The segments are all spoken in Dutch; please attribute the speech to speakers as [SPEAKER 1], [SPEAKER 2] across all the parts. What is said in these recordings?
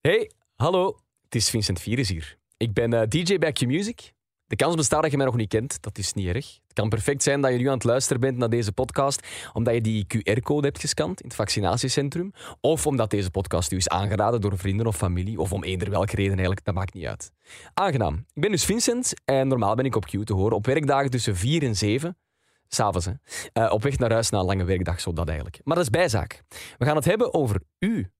[SPEAKER 1] Hey, hallo. Het is Vincent Vieres hier. Ik ben eh, DJ bij Q-Music. De kans bestaat dat je mij nog niet kent. Dat is niet erg. Het kan perfect zijn dat je nu aan het luisteren bent naar deze podcast omdat je die QR-code hebt gescand in het vaccinatiecentrum of omdat deze podcast u is aangeraden door vrienden of familie of om eender welke reden eigenlijk, dat maakt niet uit. Aangenaam. Ik ben dus Vincent en normaal ben ik op Q te horen op werkdagen tussen 4 en 7. S'avonds, hè. Eh, op weg naar huis na een lange werkdag, zo dat eigenlijk. Maar dat is bijzaak. We gaan het hebben over u.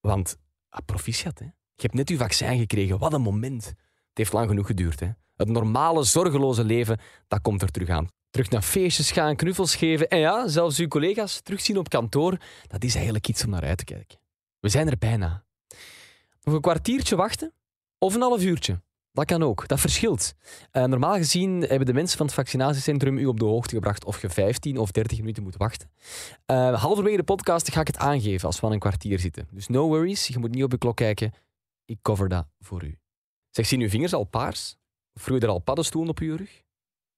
[SPEAKER 1] Want Ah, proficiat, hè. Je hebt net uw vaccin gekregen. Wat een moment. Het heeft lang genoeg geduurd, hè. Het normale, zorgeloze leven, dat komt er terug aan. Terug naar feestjes gaan, knuffels geven. En ja, zelfs uw collega's terugzien op kantoor. Dat is eigenlijk iets om naar uit te kijken. We zijn er bijna. Nog een kwartiertje wachten of een half uurtje. Dat kan ook. Dat verschilt. Eh, normaal gezien hebben de mensen van het vaccinatiecentrum u op de hoogte gebracht of je 15 of 30 minuten moet wachten. Eh, halverwege de podcast ga ik het aangeven als we aan een kwartier zitten. Dus no worries, je moet niet op je klok kijken. Ik cover dat voor u. Zeg, zien uw vingers al paars? Of Groeien er al paddenstoelen op uw rug?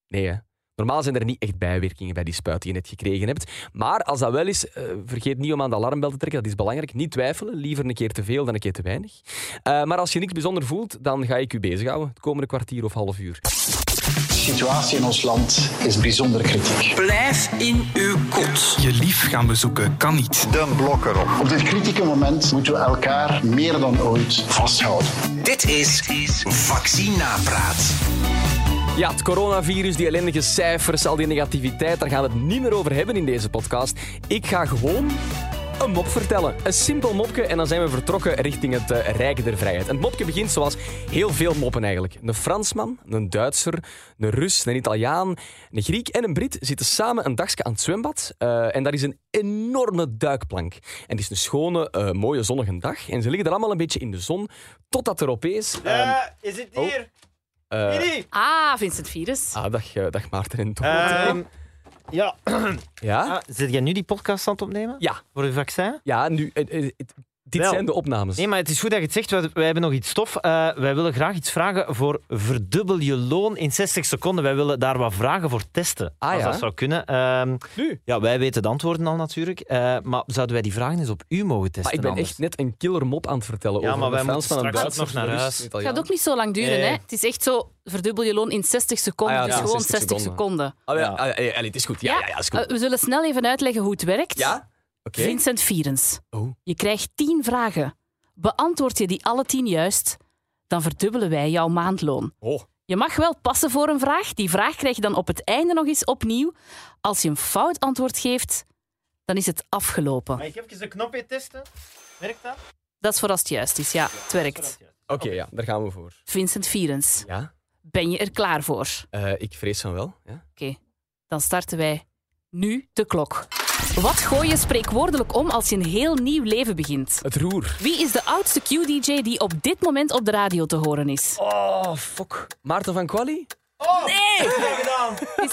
[SPEAKER 1] Nee, hè? Normaal zijn er niet echt bijwerkingen bij die spuit die je net gekregen hebt. Maar als dat wel is, eh, vergeet niet om aan de alarmbel te trekken. Dat is belangrijk. Niet twijfelen. Liever een keer te veel dan een keer te weinig. Eh, maar als je niks bijzonder voelt, dan ga ik u bezighouden. Het komende kwartier of half uur.
[SPEAKER 2] De situatie in ons land is bijzonder kritiek.
[SPEAKER 3] Blijf in uw kot. Je lief gaan bezoeken kan niet.
[SPEAKER 4] Een blok erop.
[SPEAKER 2] Op dit kritieke moment moeten we elkaar meer dan ooit vasthouden.
[SPEAKER 3] Dit is Vaccinapraat.
[SPEAKER 1] Ja, het coronavirus, die ellendige cijfers, al die negativiteit, daar gaan we het niet meer over hebben in deze podcast. Ik ga gewoon een mop vertellen. Een simpel mopje en dan zijn we vertrokken richting het eh, Rijk der Vrijheid. En het mopje begint zoals heel veel moppen eigenlijk. Een Fransman, een Duitser, een Rus, een Italiaan, een Griek en een Brit zitten samen een dagje aan het zwembad. eh, en daar is een enorme duikplank. En het is een schone, eh, mooie zonnige dag. En ze liggen er allemaal een beetje in de zon, totdat er opeens... eh,
[SPEAKER 5] Eh, is het
[SPEAKER 1] oh.
[SPEAKER 5] hier?
[SPEAKER 1] eh,
[SPEAKER 5] Hier.
[SPEAKER 6] Ah, Vincent Virus.
[SPEAKER 1] ah, dag, eh, dag Maarten en Tom.
[SPEAKER 5] Ehm, ja.
[SPEAKER 1] ja?
[SPEAKER 5] Ah, zit jij nu die podcast aan het opnemen?
[SPEAKER 1] Ja.
[SPEAKER 5] Voor uw vaccin?
[SPEAKER 1] Ja, nu, eh, eh, het- dit
[SPEAKER 5] Wel.
[SPEAKER 1] zijn de opnames.
[SPEAKER 5] Nee, maar het is goed dat je het zegt. want Wij hebben nog iets tof. Eh, wij willen graag iets vragen voor verdubbel je loon in 60 seconden. Wij willen daar wat vragen voor testen.
[SPEAKER 1] Ah,
[SPEAKER 5] als
[SPEAKER 1] ja.
[SPEAKER 5] dat zou kunnen. Ehm,
[SPEAKER 1] Nu?
[SPEAKER 5] Ja, wij weten de antwoorden al natuurlijk. Eh, maar zouden wij die vragen eens op u mogen testen?
[SPEAKER 1] Maar Ah, ik ben
[SPEAKER 5] anders?
[SPEAKER 1] echt net een killer mop aan het vertellen
[SPEAKER 5] Ja,
[SPEAKER 1] over
[SPEAKER 5] maar
[SPEAKER 1] de
[SPEAKER 5] wij
[SPEAKER 1] Frans
[SPEAKER 5] moeten
[SPEAKER 1] van een
[SPEAKER 5] straks
[SPEAKER 1] Duitser.
[SPEAKER 5] ook nog
[SPEAKER 1] een
[SPEAKER 5] naar
[SPEAKER 1] Rus,
[SPEAKER 5] huis.
[SPEAKER 1] een
[SPEAKER 6] Het
[SPEAKER 1] Italiaan.
[SPEAKER 6] gaat ook niet zo lang duren,
[SPEAKER 5] Nee.
[SPEAKER 6] hè? Het is echt zo, verdubbel je loon in 60 seconden.
[SPEAKER 1] Ah, ja,
[SPEAKER 6] dus
[SPEAKER 1] ja,
[SPEAKER 6] gewoon
[SPEAKER 1] 60
[SPEAKER 6] 60 seconden.
[SPEAKER 1] Ah, ja,
[SPEAKER 5] Ja.
[SPEAKER 1] ah, ja, ja, allee, het is goed. Ja, ja, ja, is
[SPEAKER 6] Eh,
[SPEAKER 1] goed.
[SPEAKER 6] we zullen snel even uitleggen hoe het werkt.
[SPEAKER 1] Ja? Oké.
[SPEAKER 6] Vincent Virens.
[SPEAKER 1] Oh.
[SPEAKER 6] Je krijgt 10 vragen. Beantwoord je die alle 10 juist, dan verdubbelen wij jouw maandloon.
[SPEAKER 1] Oh.
[SPEAKER 6] Je mag wel passen voor een vraag. Die vraag krijg je dan op het einde nog eens opnieuw. Als je een fout antwoord geeft, dan is het afgelopen.
[SPEAKER 5] ik even de knopje testen? Merkt dat?
[SPEAKER 6] Dat is voor als het juist is, ja. Het werkt.
[SPEAKER 1] Oké, ja, daar gaan we voor.
[SPEAKER 6] Vincent Virens,
[SPEAKER 1] Ja?
[SPEAKER 6] ben je er klaar voor?
[SPEAKER 1] Eh, ik vrees van wel. Ja?
[SPEAKER 6] Oké, dan starten wij nu de klok. Wat gooi je spreekwoordelijk om als je een heel nieuw leven begint?
[SPEAKER 1] Het roer.
[SPEAKER 6] Wie is de oudste Q-DJ die op dit moment op de radio te horen is?
[SPEAKER 1] Oh, fuck. Maarten van Quali?
[SPEAKER 6] Is het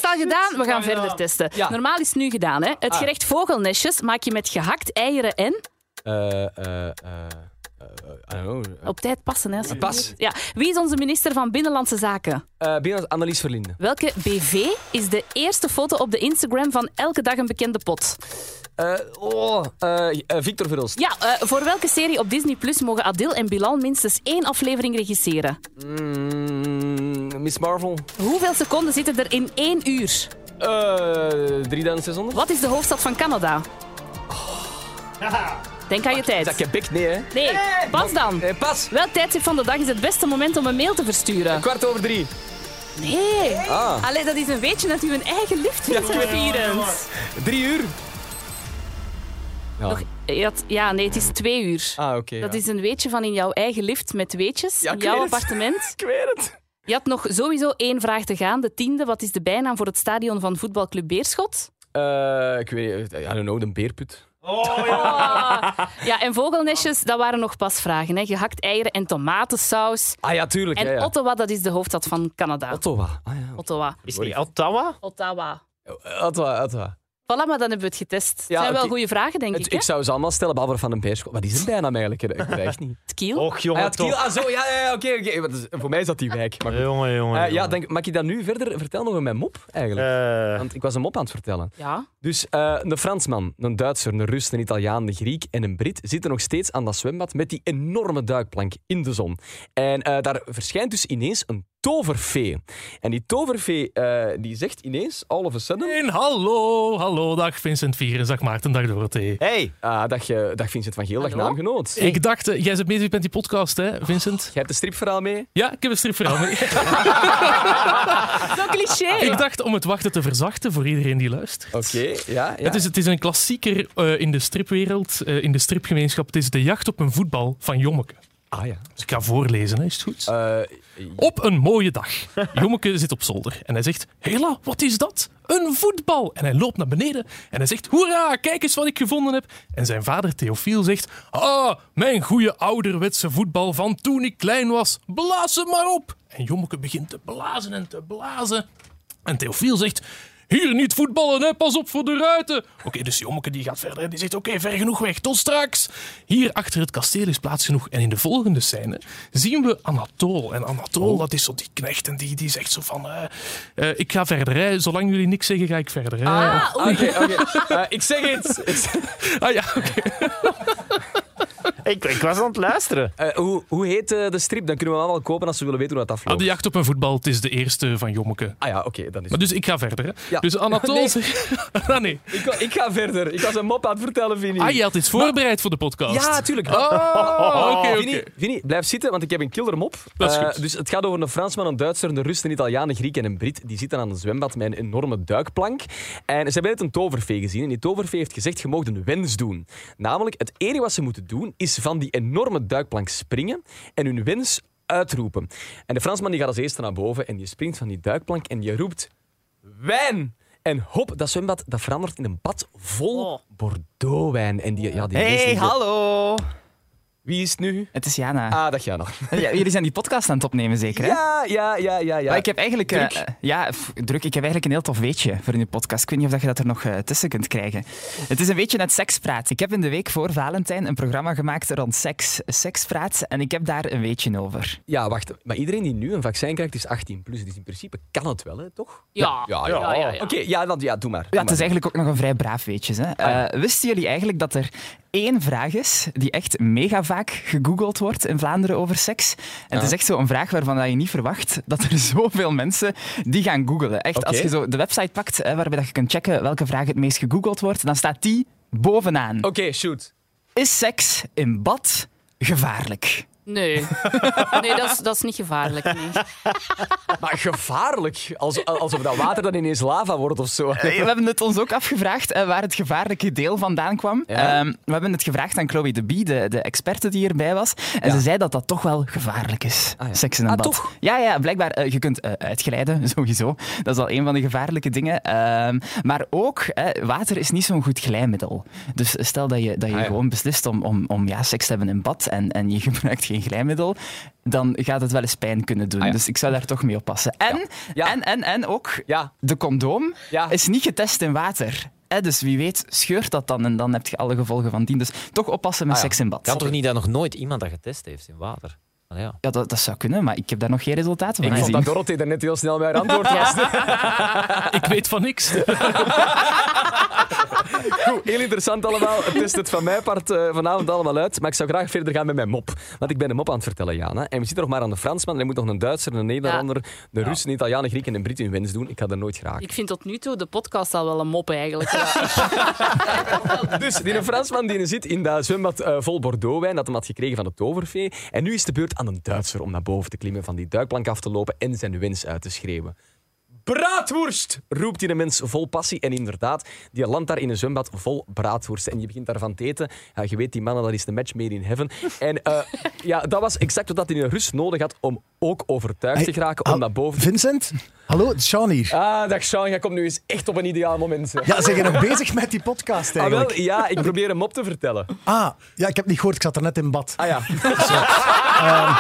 [SPEAKER 6] al gedaan? Ah. We gaan verder testen.
[SPEAKER 1] Ja.
[SPEAKER 6] Normaal is het nu gedaan. Hè? Het gerecht vogelnestjes maak je met gehakt eieren en...
[SPEAKER 1] Eh, eh, eh, eh, I don't know. Eh,
[SPEAKER 6] Op tijd passen, hè. als het
[SPEAKER 1] Pas.
[SPEAKER 6] moet. Ja. Wie is onze minister van Binnenlandse Zaken?
[SPEAKER 1] eh, binnen Annelies Verlinde.
[SPEAKER 6] Welke BV is de eerste foto op de Instagram van Elke Dag Een Bekende Pot?
[SPEAKER 1] Eh, oh, eh, eh, Victor Verhulst.
[SPEAKER 6] Ja, eh, voor welke serie op Disney Plus mogen Adil en Bilal minstens één aflevering regisseren?
[SPEAKER 1] Mm, Miss Marvel.
[SPEAKER 6] Hoeveel seconden zitten er in één uur?
[SPEAKER 1] Eh 3600?
[SPEAKER 6] Wat is de hoofdstad van Canada? Denk aan je
[SPEAKER 1] Is dat
[SPEAKER 6] tijd.
[SPEAKER 1] Quebec? Nee, hè?
[SPEAKER 6] Nee, pas dan.
[SPEAKER 1] Eh, pas.
[SPEAKER 6] Welk tijdstip van de dag is het beste moment om een mail te versturen?
[SPEAKER 1] Kwart over drie.
[SPEAKER 6] Nee.
[SPEAKER 1] Ah.
[SPEAKER 6] Allee, dat is een beetje dat u een eigen lift
[SPEAKER 1] Ja,
[SPEAKER 6] vindt,
[SPEAKER 1] ik weet het.
[SPEAKER 6] Vierens.
[SPEAKER 1] Drie uur. Ja.
[SPEAKER 6] Eh, dat- Ja, nee, het is twee uur.
[SPEAKER 1] Ah, oké.
[SPEAKER 6] Dat
[SPEAKER 1] ja.
[SPEAKER 6] is een weetje van in jouw eigen lift met weetjes,
[SPEAKER 1] Ja,
[SPEAKER 6] in
[SPEAKER 1] ik
[SPEAKER 6] jouw
[SPEAKER 1] weet het.
[SPEAKER 6] appartement.
[SPEAKER 1] Ik weet het.
[SPEAKER 6] Je had nog sowieso één vraag te gaan. De tiende, wat is de bijnaam voor het stadion van voetbalclub Beerschot?
[SPEAKER 1] Eh, ik weet niet, I don't know, een beerput.
[SPEAKER 6] Ah. Ja, en vogelnestjes, dat waren nog pas vragen. Hè. Gehakt eieren en tomatensaus.
[SPEAKER 1] Ah ja, tuurlijk.
[SPEAKER 6] En
[SPEAKER 1] ja, ja.
[SPEAKER 6] Ottawa, dat is de hoofdstad van Canada.
[SPEAKER 1] Ottawa. Ah, ja. Eh,
[SPEAKER 6] Ottawa.
[SPEAKER 5] Is die Ottawa?
[SPEAKER 6] Ottawa.
[SPEAKER 1] Ottawa, Ottawa.
[SPEAKER 6] Voilà, maar dan hebben we het getest. Het
[SPEAKER 1] Ja,
[SPEAKER 6] zijn wel
[SPEAKER 1] oké.
[SPEAKER 6] goede vragen, denk
[SPEAKER 1] Het-
[SPEAKER 6] ik.
[SPEAKER 1] ik zou ze allemaal stellen, behalve van een beerschot. Wat is er bijna eigenlijk? Ik weet het echt niet.
[SPEAKER 6] Het kiel.
[SPEAKER 7] Oh.
[SPEAKER 5] Och,
[SPEAKER 1] Hij
[SPEAKER 5] jongen,
[SPEAKER 1] had
[SPEAKER 5] toch.
[SPEAKER 1] kiel. Ah, zo, ja, ja, ja, oké. oké. Wat is- Voor mij is dat die wijk. Maar goed.
[SPEAKER 5] Jongen, jongen.
[SPEAKER 1] Eh, ja, denk, mag ik dat nu verder vertellen over mijn mop eigenlijk?
[SPEAKER 5] jongen. Eh,
[SPEAKER 1] Want ik was een mop aan het vertellen.
[SPEAKER 6] Ja.
[SPEAKER 1] Dus eh, een Fransman, een Duitser, een Rus, een Italiaan, een Griek en een Brit zitten nog steeds aan dat zwembad met die enorme duikplank in de zon. En eh, daar verschijnt dus ineens een toverfee. En die toverfee eh, die zegt ineens, all of a sudden...
[SPEAKER 4] En hallo, hallo, dag Vincent Vieren, dag Maarten, dag Dorothee.
[SPEAKER 5] hey,
[SPEAKER 1] Ah, dag, eh, dag Vincent van Geel, dag
[SPEAKER 6] Hallo.
[SPEAKER 1] naamgenoot.
[SPEAKER 4] Ik dacht, eh, jij zit bezig met die podcast, hè, Vincent?
[SPEAKER 1] Jij hebt een stripverhaal mee?
[SPEAKER 4] Ja, ik heb een stripverhaal. mee.
[SPEAKER 6] Zo'n cliché.
[SPEAKER 4] Ah, ik dacht om het wachten te verzachten voor iedereen die luistert.
[SPEAKER 1] Oké, ja. Oh, ja.
[SPEAKER 4] Het, is, het is een klassieker eh, in de stripwereld, eh, in de stripgemeenschap. Het is De jacht op een voetbal van Jommeke.
[SPEAKER 1] Ah ja.
[SPEAKER 4] Dus ik ga voorlezen, hè, is het goed?
[SPEAKER 1] Eh,
[SPEAKER 4] Op een mooie dag. Jommeke zit op zolder en hij zegt: Hela, wat is dat? Een voetbal! En hij loopt naar beneden en hij zegt: Hoera, kijk eens wat ik gevonden heb. En zijn vader Theofiel zegt: Ah, mijn goede ouderwetse voetbal van toen ik klein was. Blaas hem maar op! En Jommeke begint te blazen en te blazen. En Theofiel zegt... Hier niet voetballen, hè? pas op voor de ruiten. Oké, dus Jommeke die gaat verder en die zegt... Oké, ver genoeg weg, tot straks. Hier achter het kasteel is plaats genoeg. En in de volgende scène zien we Anatol. En Anatol, dat is zo die knecht en die, die zegt zo van... eh, eh, ik ga verder, hè. zolang jullie niks zeggen, ga ik verder. Hè.
[SPEAKER 6] Ah, oei.
[SPEAKER 1] Oké, oké. Eh, ik zeg het. Ik zeg-
[SPEAKER 4] Ah ja, oké.
[SPEAKER 5] ik, ik was aan het luisteren.
[SPEAKER 1] Eh, hoe, hoe heet eh, de strip? Dan kunnen we hem wel kopen als we willen weten hoe dat
[SPEAKER 4] Ah,
[SPEAKER 1] afloopt.
[SPEAKER 4] de jacht op een voetbal, het is de eerste van Jommeke.
[SPEAKER 1] Ah ja, oké, dan is
[SPEAKER 4] Maar
[SPEAKER 1] het.
[SPEAKER 4] dus ik ga verder. Hè.
[SPEAKER 1] Ja.
[SPEAKER 4] Dus Anatol
[SPEAKER 1] Nee.
[SPEAKER 4] zegt... ah, nee.
[SPEAKER 1] Ik, wa- ik ga verder. Ik was een mop aan het vertellen, Vinnie.
[SPEAKER 4] Ah, je had dit voorbereid voor de podcast.
[SPEAKER 1] Ja, tuurlijk.
[SPEAKER 4] Oh, oké, oké.
[SPEAKER 1] Vinnie, Vinnie, blijf zitten, want ik heb een kildermop.
[SPEAKER 4] Dat is
[SPEAKER 1] Eh,
[SPEAKER 4] goed.
[SPEAKER 1] dus het gaat over een Fransman, een Duitser, een Rus, een Italiaan, een Griek en een Brit. Die zitten aan een zwembad met een enorme duikplank. En ze hebben net een tovervee gezien. En die tovervee heeft gezegd, je mag een wens doen. Namelijk, het enige wat ze moeten doen, is van die enorme duikplank springen en hun wens uitroepen. En de Fransman die gaat als eerste naar boven en die springt van die duikplank en die roept... Wijn! En hop, dat zwembad dat verandert in een bad vol
[SPEAKER 6] Oh.
[SPEAKER 1] Bordeaux-wijn. En die, ja, die mensen
[SPEAKER 8] Hey,
[SPEAKER 1] die-
[SPEAKER 8] hallo.
[SPEAKER 1] Wie is het nu?
[SPEAKER 8] Het is Jana.
[SPEAKER 1] Ah, dag Jana.
[SPEAKER 8] Ja, jullie zijn die podcast aan het opnemen, zeker? Hè?
[SPEAKER 1] Ja, ja, ja, ja. ja.
[SPEAKER 8] Maar ik heb eigenlijk, eh, ja, f- druk. Ik heb eigenlijk een heel tof weetje voor in de podcast. Ik weet niet of dat je dat er nog eh, tussen kunt krijgen. Het is een beetje net sekspraat. Ik heb in de week voor Valentijn een programma gemaakt rond seks, sekspraat. En ik heb daar een weetje over.
[SPEAKER 1] Ja, wacht. Maar iedereen die nu een vaccin krijgt is 18 plus. Dus in principe kan het wel, hè, toch?
[SPEAKER 6] Ja.
[SPEAKER 1] Ja, ja.
[SPEAKER 6] Ja, ja, ja.
[SPEAKER 1] Oké, ja, dan, ja, doe maar. Ah,
[SPEAKER 8] Ja, het is eigenlijk ook nog een vrij braaf weetje. Hè? Eh, wisten jullie eigenlijk dat er één vraag is die echt mega vaak gegoogeld wordt in Vlaanderen over seks? En het is echt zo'n vraag waarvan dat je niet verwacht dat er zoveel mensen die gaan googelen. Echt,
[SPEAKER 1] Oké.
[SPEAKER 8] als je zo de website pakt hè, waarbij dat je kunt checken welke vraag het meest gegoogeld wordt, dan staat die bovenaan.
[SPEAKER 1] Oké, shoot.
[SPEAKER 8] Is seks in bad gevaarlijk?
[SPEAKER 6] Nee. Nee, dat is, dat is niet gevaarlijk. Nee.
[SPEAKER 1] Maar gevaarlijk. Als, alsof dat water dan ineens lava wordt of zo.
[SPEAKER 8] Eh, We hebben het ons ook afgevraagd eh, waar het gevaarlijke deel vandaan kwam.
[SPEAKER 1] Ja.
[SPEAKER 8] Ehm, we hebben het gevraagd aan Chloe de Bie, de, de experte die hierbij was. En ze zei dat dat toch wel gevaarlijk is.
[SPEAKER 1] Ah, ja.
[SPEAKER 8] Seks in een
[SPEAKER 1] Ah,
[SPEAKER 8] bad.
[SPEAKER 1] toch?
[SPEAKER 8] Ja, ja, blijkbaar. eh, je kunt eh, uitglijden, sowieso. Dat is al een van de gevaarlijke dingen. Ehm, maar ook, eh, water is niet zo'n goed glijmiddel. Dus stel dat je, dat je
[SPEAKER 1] Ah, ja.
[SPEAKER 8] gewoon beslist om, om, om ja, seks te hebben in bad en, en je gebruikt geen glijmiddel, dan gaat het wel eens pijn kunnen doen.
[SPEAKER 1] Ah, ja.
[SPEAKER 8] Dus ik zou daar toch mee oppassen. En,
[SPEAKER 1] Ja.
[SPEAKER 8] en, en, en ook,
[SPEAKER 1] Ja.
[SPEAKER 8] de condoom
[SPEAKER 1] Ja.
[SPEAKER 8] is niet getest in water. Hè, dus wie weet scheurt dat dan en dan heb je alle gevolgen van dien. Dus toch oppassen met
[SPEAKER 1] Ah ja.
[SPEAKER 8] seks in bad.
[SPEAKER 7] Kan toch niet dat nog nooit iemand dat getest heeft in water? Maar ja.
[SPEAKER 8] Ja, dat, dat zou kunnen, maar ik heb daar nog geen resultaten van
[SPEAKER 1] Ik vond
[SPEAKER 8] gezien.
[SPEAKER 1] dat Dorothee er net heel snel bij haar antwoord was.
[SPEAKER 4] Ik weet van niks.
[SPEAKER 1] Goed, heel interessant allemaal. Het is het van mijn part eh, vanavond allemaal uit. Maar ik zou graag verder gaan met mijn mop. Want ik ben een mop aan het vertellen, Jana. En we zitten nog maar aan de Fransman. En er moet nog een Duitser, een Nederlander, een Rus, een Italiaan, een Griek en een Brit hun wens doen. Ik ga er nooit geraken.
[SPEAKER 6] Ik vind tot nu toe de podcast al wel een mop eigenlijk.
[SPEAKER 1] Dus die Fransman die zit in dat zwembad eh, vol Bordeaux-wijn dat hem had gekregen van de tovervee. En nu is de beurt aan een Duitser om naar boven te klimmen, van die duikplank af te lopen en zijn wens uit te schreeuwen. Braadworst! roept die een mens vol passie. En inderdaad, die landt daar in een zwembad vol braadworst. En je begint daarvan te eten. Ja, je weet, die mannen, dat is de match made in heaven. En eh, ja, dat was exact wat dat in een Rus nodig had om ook overtuigd
[SPEAKER 9] Hey, ah,
[SPEAKER 1] te geraken
[SPEAKER 9] al-
[SPEAKER 1] om naar boven te...
[SPEAKER 9] Vincent? Hallo, het is Sean hier.
[SPEAKER 1] Ah, dag Sean, jij komt nu eens echt op een ideaal moment. zeg.
[SPEAKER 9] Ja, zijn je nog bezig met die podcast
[SPEAKER 1] Ah,
[SPEAKER 9] eigenlijk?
[SPEAKER 1] wel, ja, ik probeer hem op te vertellen.
[SPEAKER 9] Ah, ja, ik heb niet gehoord, ik zat er net in bad.
[SPEAKER 1] Ah ja.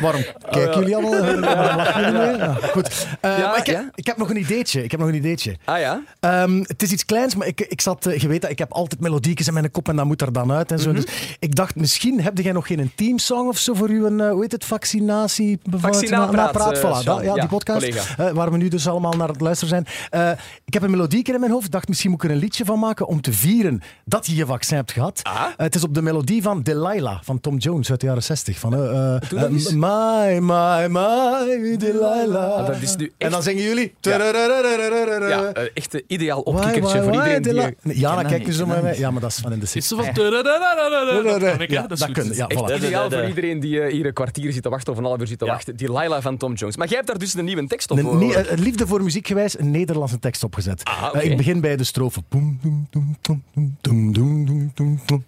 [SPEAKER 9] Waarom kijken jullie allemaal? Waarom lachen jullie mee? Ja, goed. Eh,
[SPEAKER 1] Eh. Ja,
[SPEAKER 9] maar ik, heb,
[SPEAKER 1] ja.
[SPEAKER 9] ik heb nog een ideetje. Ik heb nog een ideetje.
[SPEAKER 1] Ah ja?
[SPEAKER 9] Ehm, het is iets kleins, maar ik, ik zat, eh, je weet dat ik heb altijd melodiekjes in mijn kop en dat moet er dan uit en zo. Dus ik dacht, misschien heb jij nog geen teamsong of zo voor uw, eh, hoe heet het, vaccinatie?
[SPEAKER 1] Vaccinapraat,
[SPEAKER 9] napraat,
[SPEAKER 1] eh,
[SPEAKER 9] voilà,
[SPEAKER 1] Sean.
[SPEAKER 9] dat- ja,
[SPEAKER 1] Ja,
[SPEAKER 9] die podcast
[SPEAKER 1] collega.
[SPEAKER 9] eh, waar we nu dus allemaal naar het luisteren zijn. Eh, ik heb een melodieke in mijn hoofd, dacht misschien moet ik er een liedje van maken om te vieren dat je je vaccin hebt gehad. Eh, het is op de melodie van Delilah van Tom Jones uit de jaren 60. Van, eh, eh,
[SPEAKER 1] Doe dat
[SPEAKER 9] eh,
[SPEAKER 1] eens.
[SPEAKER 9] my, my, my, Delilah.
[SPEAKER 1] Ah, dat is nu
[SPEAKER 9] En
[SPEAKER 1] echt-
[SPEAKER 9] dan zingen jullie.
[SPEAKER 1] Ja.
[SPEAKER 9] Tararararararara.
[SPEAKER 1] ja eh, echt een ideaal
[SPEAKER 9] Why, why,
[SPEAKER 1] opkikkertje voor
[SPEAKER 9] why,
[SPEAKER 1] iedereen die... eh,
[SPEAKER 9] Delilah? Nee, Jana,
[SPEAKER 8] Ken dat
[SPEAKER 9] kijk
[SPEAKER 8] niet,
[SPEAKER 9] eens om
[SPEAKER 8] ken
[SPEAKER 9] mij.
[SPEAKER 8] dat
[SPEAKER 9] mee.
[SPEAKER 8] niet.
[SPEAKER 9] Ja, maar dat is van in de zin.
[SPEAKER 4] Is zo van... Dat kan ik, hè?
[SPEAKER 9] Ja,
[SPEAKER 4] Dat is
[SPEAKER 9] dat
[SPEAKER 4] goed.
[SPEAKER 9] kunnen. Ja,
[SPEAKER 1] Echt
[SPEAKER 9] voilà.
[SPEAKER 1] ideaal voor iedereen die eh, hier een kwartier zit te wachten of een half uur zit te wachten. Die Laila van Tom Jones. Maar jij hebt daar dus een nieuwe tekst op.
[SPEAKER 9] Een
[SPEAKER 1] hoor.
[SPEAKER 9] nie- eh, liefde voor muziekgewijs een Nederlandse tekst opgezet.
[SPEAKER 4] Ah,
[SPEAKER 1] oké.
[SPEAKER 9] Eh, Ik begin bij de strofe. Poem, doem, doem, doem, doem, doem, doem, doem, doem, doem.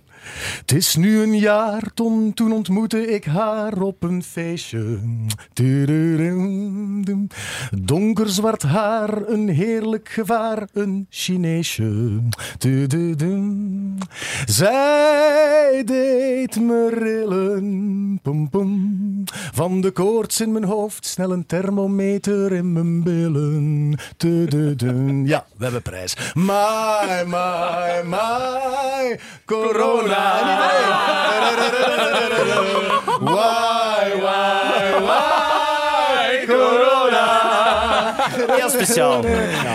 [SPEAKER 9] Het is nu een jaar, Tom, toen ontmoette ik haar op een feestje. Tudurum, doem. Donkerzwart haar, een heerlijk gevaar, een Chineesje. Tududum. Zij deed me rillen, pom, pom. van de koorts in mijn hoofd, snel een thermometer in mijn billen. Tududum. Ja, we hebben prijs. My, my, my, corona. En iedereen. Why, why, why, corona.
[SPEAKER 5] Heel speciaal.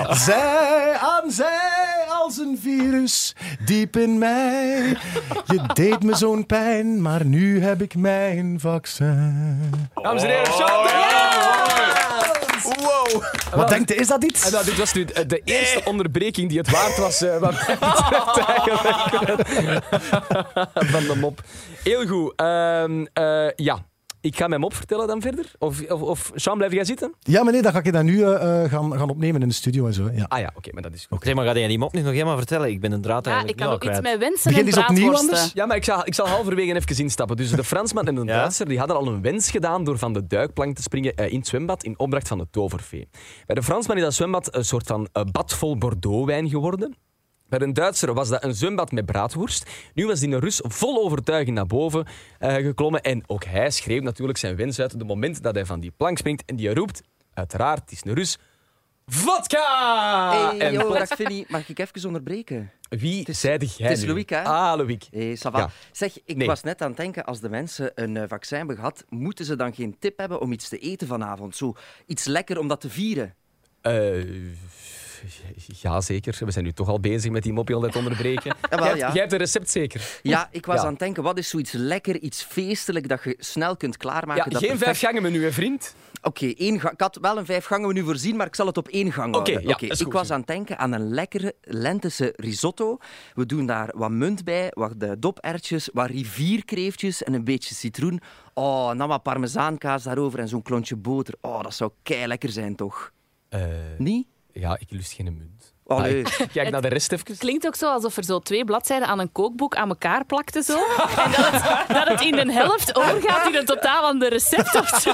[SPEAKER 9] Zij aan zij als een virus diep in mij. Je deed me zo'n pijn, maar nu heb ik mijn vaccin.
[SPEAKER 1] Dames en heren, Sean Mendes! Wow!
[SPEAKER 9] Wat denkt u, is dat
[SPEAKER 1] En
[SPEAKER 9] iets?
[SPEAKER 1] nou, dit was nu de de eerste onderbreking die het waard was, eh, wat mij betreft eigenlijk. Van de mop. Heel goed. Ehm, eh, ja, ik ga mijn mop vertellen dan verder. Of, of, of Sean, blijf jij zitten?
[SPEAKER 9] Ja, meneer, dan ga ik je dat nu eh, eh, gaan, gaan opnemen in de studio en zo. Ja.
[SPEAKER 1] Ah ja, oké, maar dat is goed.
[SPEAKER 7] Zeg maar, ga jij die mop nu nog helemaal vertellen? Ik ben een draad
[SPEAKER 6] Ja, ik
[SPEAKER 7] eigenlijk
[SPEAKER 6] kan
[SPEAKER 7] nu
[SPEAKER 6] ook
[SPEAKER 7] al
[SPEAKER 6] iets
[SPEAKER 7] kwijt.
[SPEAKER 6] met wensen
[SPEAKER 9] Begin
[SPEAKER 6] en
[SPEAKER 9] eens opnieuw
[SPEAKER 6] braadworsten.
[SPEAKER 9] anders?
[SPEAKER 1] Ja, maar ik zal, ik zal halverwege even instappen. Dus de Fransman en de Duitser die hadden al een wens gedaan door van de duikplank te springen eh, in het zwembad in opdracht van de toverfee. Bij de Fransman is dat zwembad een soort van eh, bad vol Bordeaux-wijn geworden. Bij een Duitser was dat een zwembad met braadworst. Nu was die een Rus vol overtuiging naar boven eh, geklommen. En ook hij schreef natuurlijk zijn wens uit op het moment dat hij van die plank springt. En die roept, uiteraard, het is een Rus, vodka!
[SPEAKER 10] Hey,
[SPEAKER 1] Ah, en
[SPEAKER 10] yo,
[SPEAKER 1] plots,
[SPEAKER 10] dag Vinnie. Mag ik even onderbreken?
[SPEAKER 1] wie
[SPEAKER 10] is-
[SPEAKER 1] zeide jij
[SPEAKER 10] het is
[SPEAKER 1] nu?
[SPEAKER 10] Loïc, hè?
[SPEAKER 1] Ah, Loïc.
[SPEAKER 10] Hey, ça va.
[SPEAKER 1] Ja.
[SPEAKER 10] Zeg, ik
[SPEAKER 1] Nee.
[SPEAKER 10] was net aan het denken, als de mensen een eh, vaccin hebben gehad, moeten ze dan geen tip hebben om iets te eten vanavond? Zo, iets lekker om dat te vieren.
[SPEAKER 1] Eh ja, zeker. We zijn nu toch al bezig met die mop heel net onderbreken.
[SPEAKER 10] wel,
[SPEAKER 1] jij, hebt,
[SPEAKER 10] ja.
[SPEAKER 1] jij hebt een recept zeker.
[SPEAKER 10] Ja, ik was
[SPEAKER 1] Ja.
[SPEAKER 10] aan het denken, wat is zoiets lekker, iets feestelijk dat je snel kunt klaarmaken?
[SPEAKER 1] Ja,
[SPEAKER 10] dat
[SPEAKER 1] geen
[SPEAKER 10] perfect-
[SPEAKER 1] vijf gangen menu, hè, vriend.
[SPEAKER 10] Oké, één ga- ik had wel een vijf gangen nu voorzien, maar ik zal het op één gang houden.
[SPEAKER 1] ja, is
[SPEAKER 10] ik
[SPEAKER 1] goed.
[SPEAKER 10] was aan het denken aan een lekkere lentische risotto. We doen daar wat munt bij, wat de dopertjes, wat rivierkreeftjes en een beetje citroen. Oh, en dan wat parmezaankaas daarover en zo'n klontje boter. Oh, dat zou kei lekker zijn, toch?
[SPEAKER 1] Eh,
[SPEAKER 10] Niet? Oh,
[SPEAKER 1] ja, ik lust geen munt.
[SPEAKER 10] Allee.
[SPEAKER 1] Ah, Kijk naar de rest
[SPEAKER 11] Dus-
[SPEAKER 1] even.
[SPEAKER 6] Klinkt ook zo alsof er zo twee bladzijden aan een kookboek aan elkaar plakten. Zo. En dat het, dat het in de helft overgaat in een totaal ander recept of zo.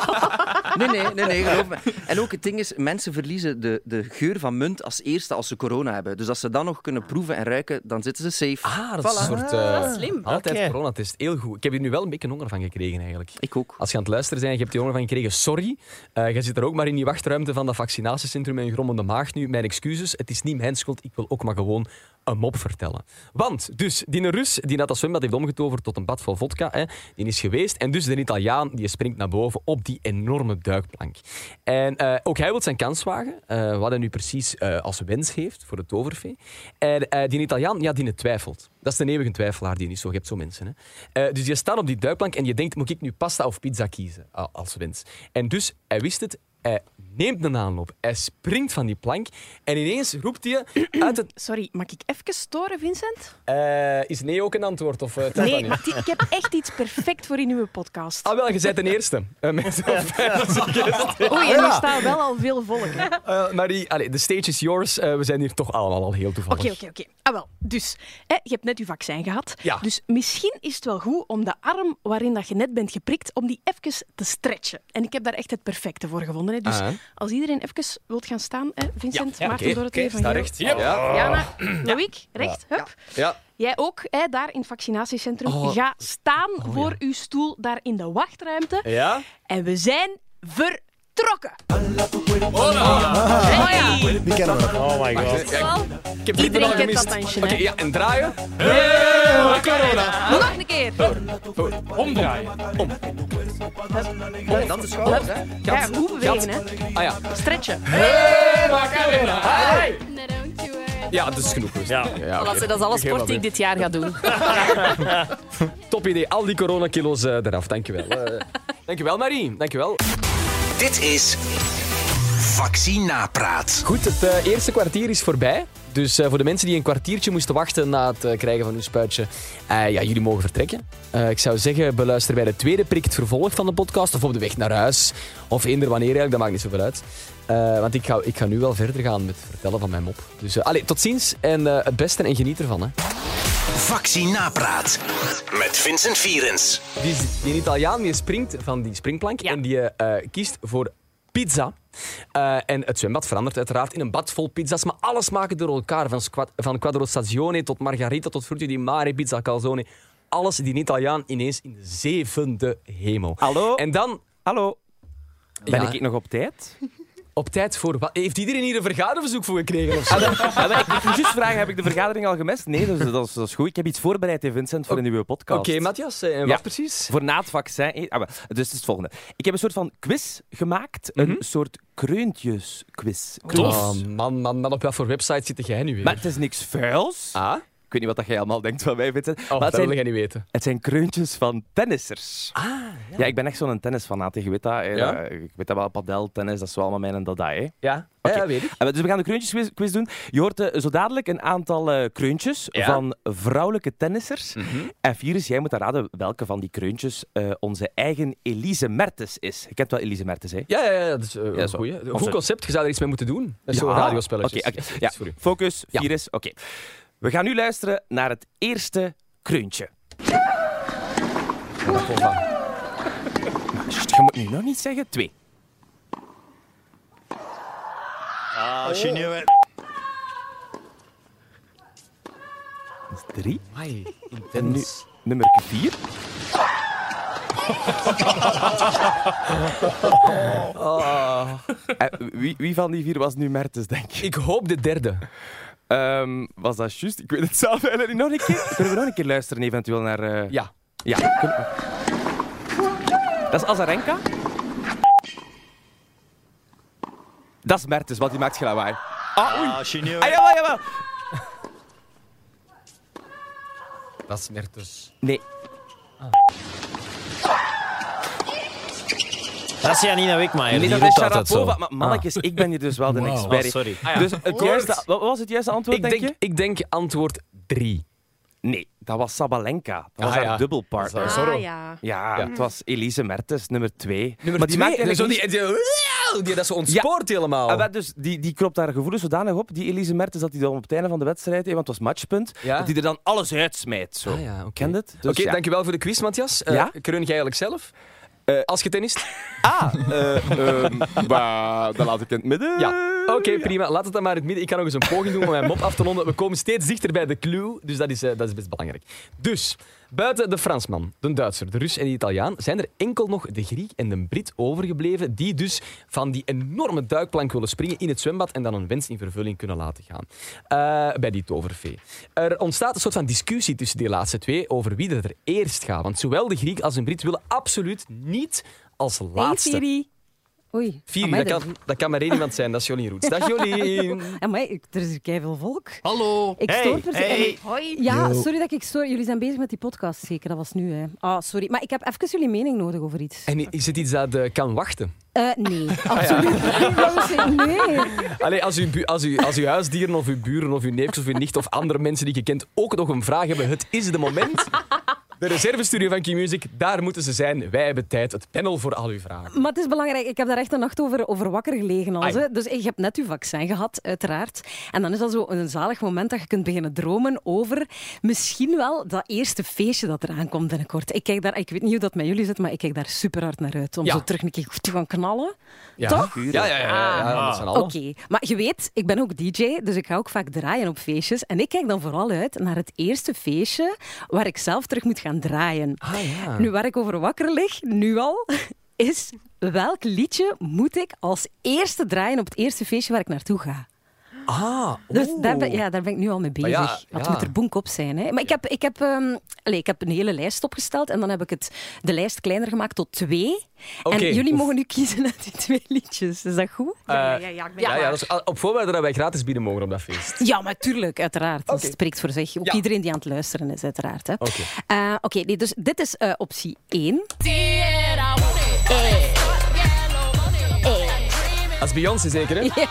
[SPEAKER 10] Nee, nee, nee, nee, geloof me. En ook het ding is, mensen verliezen de, de geur van munt als eerste als ze corona hebben. Dus als ze dan nog kunnen proeven en ruiken, dan zitten ze safe.
[SPEAKER 1] Ah, dat is een soort... eh,
[SPEAKER 6] Dat is slim.
[SPEAKER 1] Altijd
[SPEAKER 7] Oké.
[SPEAKER 1] coronatest. Heel goed. Ik heb hier nu wel een beetje honger van gekregen, eigenlijk.
[SPEAKER 10] Ik ook.
[SPEAKER 1] Als je aan het luisteren bent, je hebt die honger van gekregen, sorry. Eh je zit er ook maar in die wachtruimte van dat vaccinatiecentrum en grommende maag nu. Mijn excuses, het is niet mijn schuld. Ik wil ook maar gewoon een mop vertellen. Want, dus, die Rus, die dat zwembad heeft omgetoverd tot een bad vol vodka, hè, die is geweest. En dus de Italiaan, die springt naar boven op die enorme duikplank. En eh, ook hij wil zijn kans wagen, eh, wat hij nu precies eh, als wens heeft voor de toverfee. En eh, die Italiaan, ja, die twijfelt. Dat is de eeuwige twijfelaar, die niet zo. Je hebt zo mensen, hè. Eh, dus je staat op die duikplank en je denkt, moet ik nu pasta of pizza kiezen Ah, als wens? En dus, hij wist het, Hij neemt een aanloop. Hij springt van die plank en ineens roept hij uit het...
[SPEAKER 11] Sorry, mag ik even storen, Vincent?
[SPEAKER 1] Eh, is nee ook een antwoord? Of, eh, telt dat
[SPEAKER 11] Nee,
[SPEAKER 1] niet?
[SPEAKER 11] maar die- ik heb echt iets perfect voor in uw podcast.
[SPEAKER 1] Ah wel, je bent de eerste. Eh, met zo'n 50 guests.
[SPEAKER 11] Oei, en
[SPEAKER 1] Ah, Ja.
[SPEAKER 11] er staat wel al veel volk. hè. Oké,
[SPEAKER 1] Eh, Marie, allee, de stage is yours. Eh, we zijn hier toch allemaal al heel toevallig.
[SPEAKER 11] oké, oké. Ah wel, dus, hè, je hebt net uw vaccin gehad.
[SPEAKER 1] Ja.
[SPEAKER 11] Dus misschien is het wel goed om de arm waarin dat je net bent geprikt, om die even te stretchen. En ik heb daar echt het perfecte voor gevonden. Hè. Dus
[SPEAKER 1] Ah, hè.
[SPEAKER 11] als iedereen even wilt gaan staan, hè, Vincent,
[SPEAKER 1] Ja, ja,
[SPEAKER 11] Maarten,
[SPEAKER 1] oké,
[SPEAKER 11] Dorothee,
[SPEAKER 1] oké,
[SPEAKER 11] Van
[SPEAKER 1] sta
[SPEAKER 11] Geel,
[SPEAKER 1] recht. Yep. Ja.
[SPEAKER 11] Jana,
[SPEAKER 5] Oh.
[SPEAKER 11] Loïc, recht, hup.
[SPEAKER 1] Ja.
[SPEAKER 11] Jij ook, hè, daar in het vaccinatiecentrum.
[SPEAKER 1] Oh.
[SPEAKER 11] Ga staan voor uw stoel daar in de wachtruimte.
[SPEAKER 1] Ja?
[SPEAKER 11] En we zijn vertrokken. Oh
[SPEAKER 9] Die kennen we.
[SPEAKER 5] Oh my god.
[SPEAKER 1] Oh, Ik heb dit
[SPEAKER 11] Iedereen
[SPEAKER 1] al
[SPEAKER 11] kent dat
[SPEAKER 1] gemist.
[SPEAKER 11] dansje,
[SPEAKER 1] Oké,
[SPEAKER 11] hè?
[SPEAKER 1] ja, en draaien. Ah.
[SPEAKER 11] Nog een keer.
[SPEAKER 4] Omdraaien.
[SPEAKER 10] En dan de schouders, hè.
[SPEAKER 11] Ja, goed bewegen, hè.
[SPEAKER 1] Ah ja.
[SPEAKER 11] Stretchen.
[SPEAKER 1] Ja, dat is genoeg. geweest. Ja. oké.
[SPEAKER 6] Voilà, ze- dat is alle
[SPEAKER 1] Geen
[SPEAKER 6] sport die ik dit jaar ga doen.
[SPEAKER 1] Top idee. Al die coronakilo's eh eraf. Dankjewel. Eh dankjewel, Marie. Dankjewel.
[SPEAKER 3] Dit is Vaccinapraat.
[SPEAKER 1] Goed, het eh, eerste kwartier is voorbij. Dus eh, voor de mensen die een kwartiertje moesten wachten na het eh, krijgen van hun spuitje, eh, ja, jullie mogen vertrekken. Eh, ik zou zeggen, beluister bij de tweede prik het vervolg van de podcast. Of op de weg naar huis. Of eender wanneer eigenlijk, dat maakt niet zoveel uit. Eh, want ik ga, ik ga nu wel verder gaan met het vertellen van mijn mop. Dus eh, allee, tot ziens en eh, het beste en geniet ervan. Hè.
[SPEAKER 3] Vaccinapraat. Met Vincent Vierens.
[SPEAKER 1] Die is die een Italiaan die springt van die springplank
[SPEAKER 6] Ja.
[SPEAKER 1] en die eh, kiest voor pizza. Eh, en het zwembad verandert uiteraard in een bad vol pizza's, maar alle smaken door elkaar. Van, squa- van quadro stagione tot margarita tot frutti di mare, pizza calzone. Alles die een Italiaan ineens in de zevende hemel.
[SPEAKER 5] Hallo?
[SPEAKER 1] En dan
[SPEAKER 5] Hallo? Ben
[SPEAKER 1] Ja.
[SPEAKER 5] ik nog op tijd?
[SPEAKER 1] op tijd voor... wat- Heeft iedereen hier een vergaderverzoek voor gekregen of zo?
[SPEAKER 5] Ja, maar ik ik moest juist vragen, heb ik de vergadering al gemist? Nee, dus dat is, dat is goed. Ik heb iets voorbereid, hè, Vincent, voor in uw podcast.
[SPEAKER 1] Oké, Matthias, eh, en
[SPEAKER 5] Ja.
[SPEAKER 1] wat precies?
[SPEAKER 5] Voor na het vaccin. eh, ah, wel, dus het is het volgende. Ik heb een soort van quiz gemaakt.
[SPEAKER 1] Mhm.
[SPEAKER 5] Een soort kreuntjesquiz. Kreuntjes.
[SPEAKER 1] Oh, man, man, man, op wat voor website zit jij nu weer?
[SPEAKER 5] Maar het is niks vuils. Oh,
[SPEAKER 1] ah? Oh,
[SPEAKER 5] Ik weet niet wat dat jij allemaal denkt van mij, Vincent. maar
[SPEAKER 1] dat
[SPEAKER 5] het
[SPEAKER 1] wil
[SPEAKER 5] zijn,
[SPEAKER 1] jij niet weten.
[SPEAKER 5] het zijn kreuntjes van tennissers. Ah, ja. ik ben echt zo'n tennisfanaat. hè. Je weet dat. hè.
[SPEAKER 1] Ja?
[SPEAKER 5] Ik weet dat wel, padel, tennis, dat is wel allemaal mijn en dat, dat hè.
[SPEAKER 1] Ja,
[SPEAKER 5] Oké.
[SPEAKER 1] ja weet ik.
[SPEAKER 5] Eh, Dus we gaan de kreuntjesquiz quiz doen. Je hoort eh, zo dadelijk een aantal eh, kreuntjes
[SPEAKER 1] Ja. Mhm.
[SPEAKER 5] van vrouwelijke tennissers. En Virus, jij moet dan raden welke van die kreuntjes eh, onze eigen Elise Mertens is. Ik heb wel Elise Mertens, hè?
[SPEAKER 1] Ja, ja, ja, dat is eh,
[SPEAKER 5] Ja,
[SPEAKER 1] een
[SPEAKER 5] zo.
[SPEAKER 1] goeie. Een
[SPEAKER 5] Of
[SPEAKER 1] goed
[SPEAKER 5] zo.
[SPEAKER 1] concept. Je zou er iets mee moeten doen. Dat is
[SPEAKER 5] Ja.
[SPEAKER 1] Zo'n radiospelletje.
[SPEAKER 5] Oké, oké. Ja.
[SPEAKER 1] Sorry.
[SPEAKER 5] Focus,
[SPEAKER 1] Ja.
[SPEAKER 5] Virus, oké. We gaan nu luisteren naar het eerste kreuntje. Sst, Je moet nu nog niet zeggen. Twee. Ah, oh. Drie. En nu nummer vier. Eh, wie, wie van die vier was nu Mertens, denk je?
[SPEAKER 1] Ik hoop de derde.
[SPEAKER 5] Ehm, was dat juist? Ik weet het zelf eigenlijk niet. Nog een keer? Kunnen we nog een keer luisteren eventueel naar... eh,
[SPEAKER 1] Ja.
[SPEAKER 5] Ja. kun- Dat is Azarenka. Dat is Mertens, want die maakt geen lawaai. Ah, oei. Ah, jawel, jawel.
[SPEAKER 1] Dat is dus. Mertens.
[SPEAKER 5] Nee,
[SPEAKER 7] Dat is Janina Wikmaier.
[SPEAKER 5] nee
[SPEAKER 7] Die
[SPEAKER 5] dat is
[SPEAKER 7] roept altijd
[SPEAKER 5] Sharapova.
[SPEAKER 7] zo.
[SPEAKER 5] Maar mannetjes, ik ben hier dus wel de
[SPEAKER 9] Wauw.
[SPEAKER 5] expert.
[SPEAKER 7] Oh, sorry.
[SPEAKER 5] Dus het juiste, wat wat was het juiste antwoord,
[SPEAKER 1] Ah, Ik
[SPEAKER 5] denk,
[SPEAKER 1] denk, ik denk antwoord drie.
[SPEAKER 5] je? Nee, dat was Sabalenka. Dat was
[SPEAKER 1] Ah,
[SPEAKER 5] haar
[SPEAKER 1] ja.
[SPEAKER 5] dubbelpartner.
[SPEAKER 11] Ah, ja.
[SPEAKER 5] Ja, het was Elise Mertens, nummer twee.
[SPEAKER 1] Nummer twee,
[SPEAKER 5] maar die maakt
[SPEAKER 1] en zo
[SPEAKER 5] eigenlijk
[SPEAKER 1] die,
[SPEAKER 5] niet-
[SPEAKER 1] die, die, dat ze ontspoort helemaal.
[SPEAKER 5] Ah, wel, dus die, die kropt haar gevoelens zodanig op, die Elise Mertens, dat hij dan op het einde van de wedstrijd, hè, want het was matchpunt,
[SPEAKER 1] Ja.
[SPEAKER 5] dat hij er dan alles uitsmijt. Zo.
[SPEAKER 1] Ah, ja, oké.
[SPEAKER 5] Kent het? Dus,
[SPEAKER 1] Oké,
[SPEAKER 5] ja.
[SPEAKER 1] dankjewel voor de quiz, Matthias. Eh
[SPEAKER 5] Ja?
[SPEAKER 1] Kreun jij eigenlijk zelf? Eh, Als je tennist?
[SPEAKER 5] Ah, eh, ehm, bah, dat laat ik in het midden.
[SPEAKER 1] Ja. Oké, prima. Laat het dan maar in het midden. Ik kan nog eens een poging doen om mijn mop af te ronden. We komen steeds dichter bij de clue, dus dat is, eh, dat is best belangrijk. Dus, buiten de Fransman, de Duitser, de Rus en de Italiaan, zijn er enkel nog de Griek en de Brit overgebleven die dus van die enorme duikplank willen springen in het zwembad en dan een wens in vervulling kunnen laten gaan. Eh, bij die tovervee. Er ontstaat een soort van discussie tussen die laatste twee over wie er eerst gaat. Want zowel de Griek als de Brit willen absoluut niet als
[SPEAKER 6] Hey,
[SPEAKER 1] laatste.
[SPEAKER 6] Siri.
[SPEAKER 12] Oei.
[SPEAKER 1] Vier uur,
[SPEAKER 12] Amai,
[SPEAKER 1] dat kan, dat kan maar één iemand zijn, dat is Jolien Roets. Dag Jolien!
[SPEAKER 12] Amai, ik- er is hier keiveel volk.
[SPEAKER 1] Hallo!
[SPEAKER 12] Ik
[SPEAKER 1] Hey,
[SPEAKER 12] stoor per se-
[SPEAKER 1] hey.
[SPEAKER 12] en ik- Ja,
[SPEAKER 1] Yo.
[SPEAKER 12] sorry dat ik stoor. Jullie zijn bezig met die podcast, zeker. Dat was nu, hè. Ah, sorry. Maar ik heb even jullie mening nodig over iets.
[SPEAKER 1] En is het iets dat eh, kan wachten?
[SPEAKER 12] Eh, nee, absoluut niet. Rosie, Nee.
[SPEAKER 1] Allee, als, uw bu- als, uw, als uw huisdieren of uw buren of uw neefjes of uw nicht of andere mensen die je kent ook nog een vraag hebben, het is de moment. De reservestudio van Key Music, daar moeten ze zijn. Wij hebben tijd, het panel voor al uw vragen.
[SPEAKER 12] Maar het is belangrijk. Ik heb daar echt een nacht over, over wakker gelegen. Als,
[SPEAKER 1] Ai.
[SPEAKER 12] hè. Dus je hebt net je vaccin gehad, uiteraard. En dan is dat zo een zalig moment dat je kunt beginnen dromen over misschien wel dat eerste feestje dat eraan komt binnenkort. Ik, kijk daar, ik weet niet hoe dat met jullie zit, maar ik kijk daar super hard naar uit. Om
[SPEAKER 1] Ja.
[SPEAKER 12] zo terug een keer goed te gaan knallen.
[SPEAKER 1] Ja.
[SPEAKER 12] Toch? Ah.
[SPEAKER 1] Ja, ja, ja, ja, ja, dat zijn alle.
[SPEAKER 12] Oké, maar je weet, ik ben ook DJ, dus ik ga ook vaak draaien op feestjes. En ik kijk dan vooral uit naar het eerste feestje waar ik zelf terug moet gaan draaien.
[SPEAKER 1] Ah,
[SPEAKER 12] Nu, waar ik over wakker lig, nu al, is welk liedje moet ik als eerste draaien op het eerste feestje waar ik naartoe ga?
[SPEAKER 1] Ah,
[SPEAKER 12] Dus daar ben,
[SPEAKER 1] oeh.
[SPEAKER 12] ja, daar ben ik nu al mee
[SPEAKER 1] Maar
[SPEAKER 12] bezig.
[SPEAKER 1] ja,
[SPEAKER 12] Want het
[SPEAKER 1] ja.
[SPEAKER 12] moet er bonk op zijn. Hè. Maar ik heb, ik, heb, ehm, allee, ik heb een hele lijst opgesteld en dan heb ik het, de lijst kleiner gemaakt tot twee.
[SPEAKER 1] Oké,
[SPEAKER 12] En jullie
[SPEAKER 1] oef.
[SPEAKER 12] mogen nu kiezen uit die twee liedjes. Is dat goed?
[SPEAKER 1] Eh, ja, ja, dat is- op voorwaarde dat wij gratis bieden mogen op dat feest.
[SPEAKER 12] Ja, maar tuurlijk, uiteraard. Dat spreekt voor zich. Ook iedereen die aan het luisteren is, uiteraard. hè.
[SPEAKER 1] Oké.
[SPEAKER 12] Eh, Oké, nee, dus dit is eh, optie 1.
[SPEAKER 1] Als Beyoncé zeker, hè?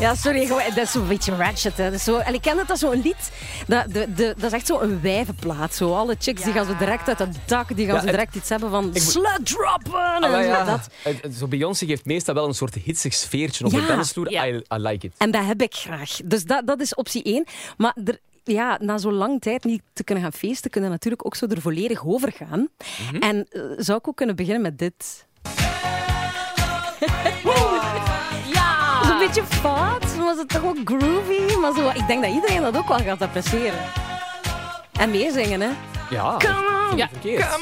[SPEAKER 12] Ja, sorry, gewoon, dat is zo'n beetje ratchet. Hè. Dat is zo, en ik ken het als zo'n lied. Dat, de, de, dat is echt zo'n wijvenplaat. Zo. Alle chicks die gaan zo direct uit het dak. Die gaan
[SPEAKER 1] Ja,
[SPEAKER 12] zo
[SPEAKER 1] het-
[SPEAKER 12] direct iets hebben van
[SPEAKER 1] moet-
[SPEAKER 12] slut droppen.
[SPEAKER 1] Ah,
[SPEAKER 12] En,
[SPEAKER 1] maar ja,
[SPEAKER 12] zo, dat.
[SPEAKER 1] het- het- zo Beyoncé geeft meestal wel een soort hitsig sfeertje op
[SPEAKER 12] Ja,
[SPEAKER 1] de dansvloer. I, I like it.
[SPEAKER 12] en dat heb ik graag. Dus dat, dat is optie 1. Maar er, ja, na zo lang tijd niet te kunnen gaan feesten, kunnen natuurlijk ook zo er volledig over gaan. En eh, zou ik ook kunnen beginnen met dit. Ja! Zo'n beetje fout, maar zo toch ook groovy. Maar zo, ik denk dat iedereen dat ook wel gaat appreciëren. En meezingen, hè?
[SPEAKER 1] Ja.
[SPEAKER 12] Come on! Ja,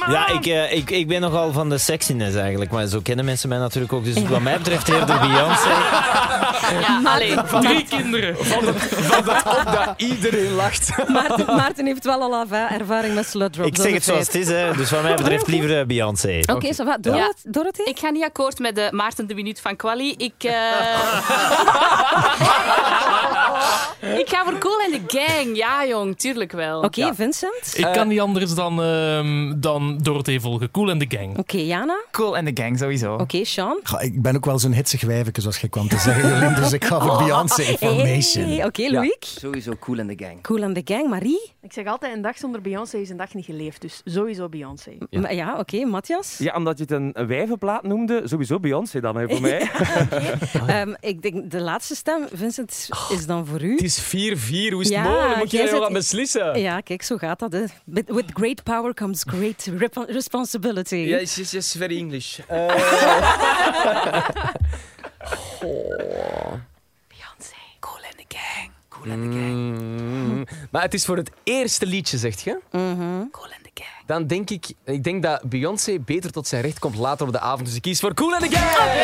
[SPEAKER 7] Ja, ik, eh, ik, ik ben nogal van de sexiness eigenlijk, maar zo kennen mensen mij natuurlijk ook. Dus wat mij betreft eerder Beyoncé.
[SPEAKER 12] maar- maar-
[SPEAKER 4] kinderen.
[SPEAKER 1] Van het, van het op dat iedereen lacht.
[SPEAKER 12] Maarten, Maarten heeft wel al af- ervaring met slut drops.
[SPEAKER 7] Ik zeg het zoals het is, hè. dus wat mij betreft liever eh, Beyoncé.
[SPEAKER 12] ça va. Dorot- Dorothy?
[SPEAKER 6] Ik ga niet akkoord met de Maarten de Minuut van Quali. Ik, eh, ik ga voor Cool en de Gang. Ja, jong, tuurlijk wel.
[SPEAKER 12] Oké, Vincent?
[SPEAKER 4] Ik kan niet anders dan, ehm dan Dorothee volgen. Cool en de gang.
[SPEAKER 12] Oké, Jana?
[SPEAKER 8] Cool en de gang, sowieso.
[SPEAKER 12] Oké, Sean?
[SPEAKER 9] Goh, ik ben ook wel zo'n hitsig wijveke, zoals je kwam te zeggen, Jolien. Dus ik ga voor Beyoncé Information.
[SPEAKER 12] Hey, Oké, Loïc?
[SPEAKER 10] Sowieso cool in de gang.
[SPEAKER 12] Cool en de gang, Marie?
[SPEAKER 11] Ik zeg altijd, een dag zonder Beyoncé is een dag niet geleefd. Dus sowieso Beyoncé.
[SPEAKER 12] Ja, ja oké, Matthias?
[SPEAKER 13] Ja, omdat je het een wijvenplaat noemde, sowieso Beyoncé dan hè, voor mij.
[SPEAKER 12] Ehm, ik denk de laatste stem, Vincent, is dan voor u.
[SPEAKER 1] Het is 4-4, hoe is het mogelijk? Moet
[SPEAKER 12] jij
[SPEAKER 1] jij nog
[SPEAKER 12] zet-
[SPEAKER 1] aan beslissen?
[SPEAKER 12] Ja, kijk, zo gaat dat. hè. With with great power comes great repo- responsibility.
[SPEAKER 1] Yes, yes, yes, very English. Eh,
[SPEAKER 6] Cool en de Gang.
[SPEAKER 1] Mm. Maar het is voor het eerste liedje, zegt je?
[SPEAKER 6] Cool en de
[SPEAKER 1] Gang. Dan denk ik, ik denk dat Beyoncé beter tot zijn recht komt later op de avond. Dus ik kies voor Cool and the Gang!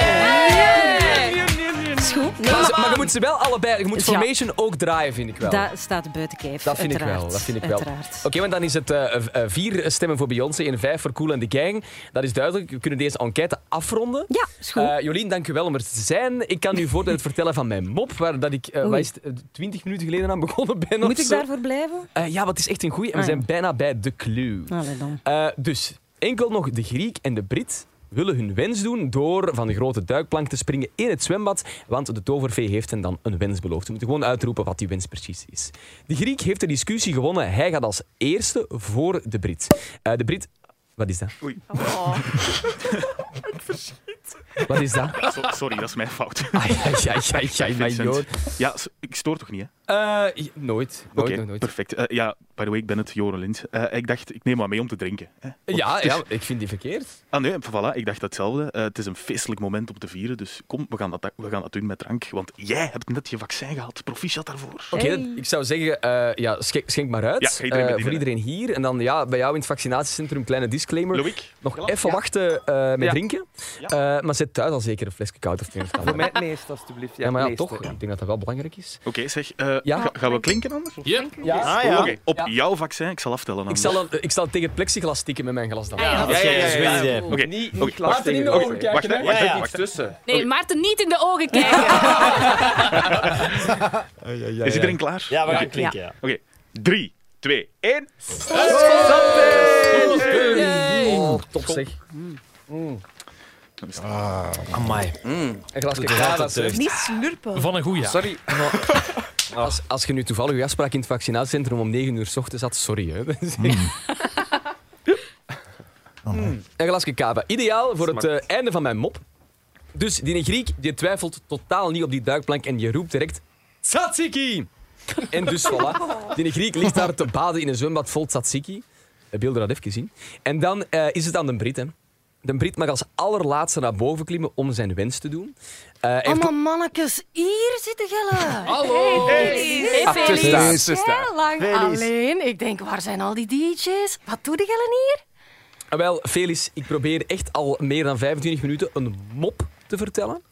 [SPEAKER 12] Is goed. Nee,
[SPEAKER 1] Maar, ze- maar je moet ze wel allebei, je
[SPEAKER 12] Ja.
[SPEAKER 1] moet Formation ook draaien, vind ik wel.
[SPEAKER 12] Dat staat buiten kijf.
[SPEAKER 1] Dat vind ik wel.
[SPEAKER 12] uiteraard.
[SPEAKER 1] Dat vind ik wel. Oké,
[SPEAKER 12] Uiteraard.
[SPEAKER 1] want dan is het eh, v- eh, vier stemmen voor Beyoncé en vijf voor Cool and the Gang. Dat is duidelijk. We kunnen deze enquête afronden.
[SPEAKER 12] Ja, is goed.
[SPEAKER 1] Eh, Jolien, dank u wel om er te zijn. Ik kan u voordat het vertellen van mijn mop, waar dat ik eh,
[SPEAKER 12] Oei.
[SPEAKER 1] twintig minuten geleden aan begonnen ben. of
[SPEAKER 12] Moet ik
[SPEAKER 1] zo.
[SPEAKER 12] daarvoor blijven?
[SPEAKER 1] Eh, ja, wat is echt een goeie. En we
[SPEAKER 12] Ah, ja.
[SPEAKER 1] zijn bijna bij de clue.
[SPEAKER 12] Allee dan.
[SPEAKER 1] Eh, dus enkel nog de Griek en de Brit willen hun wens doen door van de grote duikplank te springen in het zwembad, want de tovervee heeft hen dan een wens beloofd. Ze moeten gewoon uitroepen wat die wens precies is. De Griek heeft de discussie gewonnen. Hij gaat als eerste voor de Brit. Eh, de Brit... Wat is dat?
[SPEAKER 14] Oei.
[SPEAKER 1] Ik Wat is dat?
[SPEAKER 14] So- sorry, dat is mijn fout.
[SPEAKER 1] ai, ai, ai, ai,
[SPEAKER 14] Vincent.
[SPEAKER 1] Joor.
[SPEAKER 14] Ja, s- ik stoor toch niet, hè?
[SPEAKER 1] Eh, nooit. Nooit,
[SPEAKER 14] Oké,
[SPEAKER 1] nooit, nooit.
[SPEAKER 14] perfect. Eh, ja, by the way, ik ben het, Joren Lins. Eh, ik dacht, ik neem wat mee om te drinken. Hè? Want
[SPEAKER 1] Ja,
[SPEAKER 14] het is-
[SPEAKER 1] ja, ik vind die verkeerd.
[SPEAKER 14] Ah nee, voilà, ik dacht hetzelfde. Eh, het is een feestelijk moment om te vieren, dus kom, we gaan dat, we gaan dat doen met drank. Want jij hebt net je vaccin gehad. Proficiat daarvoor.
[SPEAKER 1] Oké, dat- ik zou zeggen, eh, ja, schenk, schenk maar uit.
[SPEAKER 14] Ja, ga iedereen
[SPEAKER 1] Eh,
[SPEAKER 14] met
[SPEAKER 1] voor
[SPEAKER 14] iedereen.
[SPEAKER 1] iedereen hier. En dan ja, bij jou in het vaccinatiecentrum, kleine disclaimer. nog even
[SPEAKER 14] Ja.
[SPEAKER 1] wachten eh, met
[SPEAKER 14] Ja.
[SPEAKER 1] drinken. Eh, maar zet thuis al zeker een flesje koud of neemt
[SPEAKER 13] Voor mij het meest, alstublieft.
[SPEAKER 1] Ja, maar ja, toch. Ik denk dat dat wel belangrijk is.
[SPEAKER 14] Oké, zeg, eh, ga- gaan we klinken anders?
[SPEAKER 1] Ja.
[SPEAKER 14] Ah, ja. Oké, op jouw vaccin, ik zal aftellen.
[SPEAKER 1] Ik zal, dan- ik zal tegen het plexiglas tikken met mijn glas dan.
[SPEAKER 14] Ah, ja, dat is goed. Dat is een goed idee.
[SPEAKER 1] Oké,
[SPEAKER 14] Niet-
[SPEAKER 1] oké.
[SPEAKER 14] niet glas
[SPEAKER 1] Laat er
[SPEAKER 14] tegen
[SPEAKER 1] in de
[SPEAKER 14] glas. Wacht,
[SPEAKER 1] ogen kijken.
[SPEAKER 14] hè.
[SPEAKER 1] hè.
[SPEAKER 14] Wacht, hè.
[SPEAKER 1] Ja, ja.
[SPEAKER 14] Wacht tussen.
[SPEAKER 6] Nee, Maarten, niet in de ogen kijken.
[SPEAKER 14] Is iedereen klaar?
[SPEAKER 7] Ja, we gaan
[SPEAKER 14] Oké.
[SPEAKER 7] klinken, ja.
[SPEAKER 14] Oké, drie, twee, één.
[SPEAKER 1] Oh, top zeg.
[SPEAKER 7] Amai.
[SPEAKER 1] Een glas
[SPEAKER 7] Doe dat
[SPEAKER 1] dat
[SPEAKER 7] deugd.
[SPEAKER 1] is- eh,
[SPEAKER 11] Niet slurpen.
[SPEAKER 1] Van een goeie. Sorry. maar- Als, als je nu toevallig je afspraak in het vaccinatiecentrum om 9 uur 's ochtends had, sorry. Hè. Een glasje kava. Hmm. Ideaal voor het eh, einde van mijn mop. Dus die Griek die twijfelt totaal niet op die duikplank en die roept direct... Tzatziki! En dus voilà. Die Griek ligt daar te baden in een zwembad vol tzatziki. De beelden dat even zien. En dan eh, is het aan de Brit, hè. De Brit mag als allerlaatste naar boven klimmen om zijn wens te doen. Eh, hij heeft
[SPEAKER 15] Allemaal mannetjes, hier zitten gellen.
[SPEAKER 1] Hallo.
[SPEAKER 15] Hey,
[SPEAKER 1] Hey,
[SPEAKER 15] Hey,
[SPEAKER 1] Felix.
[SPEAKER 15] Felix.
[SPEAKER 1] Hey, Felix.
[SPEAKER 15] Heel lang
[SPEAKER 1] Felix.
[SPEAKER 15] alleen. Ik denk, waar zijn al die DJ's? Wat doen die gellen hier?
[SPEAKER 1] Ah, Wel, Felix, ik probeer echt al meer dan 25 minuten een mop te vertellen.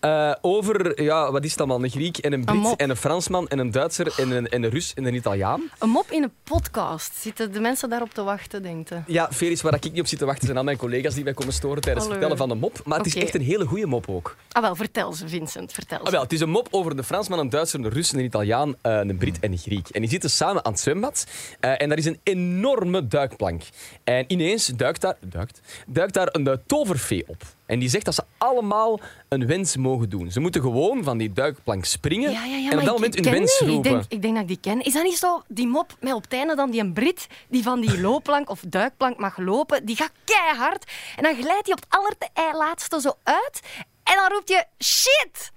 [SPEAKER 1] Eh, over, ja, wat is het allemaal? Een Griek en een Brit
[SPEAKER 15] mop.
[SPEAKER 1] en een Fransman en een Duitser en een, en een Rus en een Italiaan.
[SPEAKER 15] Een mop in een podcast. Zitten de mensen daarop te wachten, denk je?
[SPEAKER 1] Ja, Felix, waar ik niet op zit te wachten zijn al mijn collega's die mij komen storen tijdens het
[SPEAKER 15] Allee.
[SPEAKER 1] vertellen van de mop. Maar het is
[SPEAKER 15] Oké.
[SPEAKER 1] echt een hele goede mop ook.
[SPEAKER 15] Ah wel, vertel ze, Vincent, vertel ze.
[SPEAKER 1] Ah, wel, het is een mop over een Fransman, een Duitser, een Rus, een Italiaan, eh, een Brit en een Griek. En die zitten samen aan het zwembad. eh, en daar is een enorme duikplank. En ineens duikt daar, duikt, duikt daar een eh, toverfee op. En die zegt dat ze allemaal een wens mogen doen. Ze moeten gewoon van die duikplank springen
[SPEAKER 15] Ja, ja, ja,
[SPEAKER 1] en
[SPEAKER 15] maar
[SPEAKER 1] op dat
[SPEAKER 15] ik-
[SPEAKER 1] moment
[SPEAKER 15] ik
[SPEAKER 1] hun
[SPEAKER 15] ken
[SPEAKER 1] wens
[SPEAKER 15] die.
[SPEAKER 1] roepen.
[SPEAKER 15] Ik denk, ik denk dat ik die ken. Is dat niet zo, die mop met op het einde dan die een Brit die van die loopplank of duikplank mag lopen, die gaat keihard en dan glijdt hij op het allerlaatste zo uit en dan roept je shit!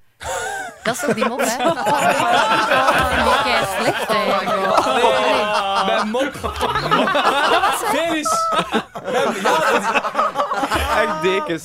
[SPEAKER 15] Dat is toch die mop, hè? Oh, kei slecht, hè.
[SPEAKER 1] Nee, mijn mop. Felix.
[SPEAKER 13] Echt dekens.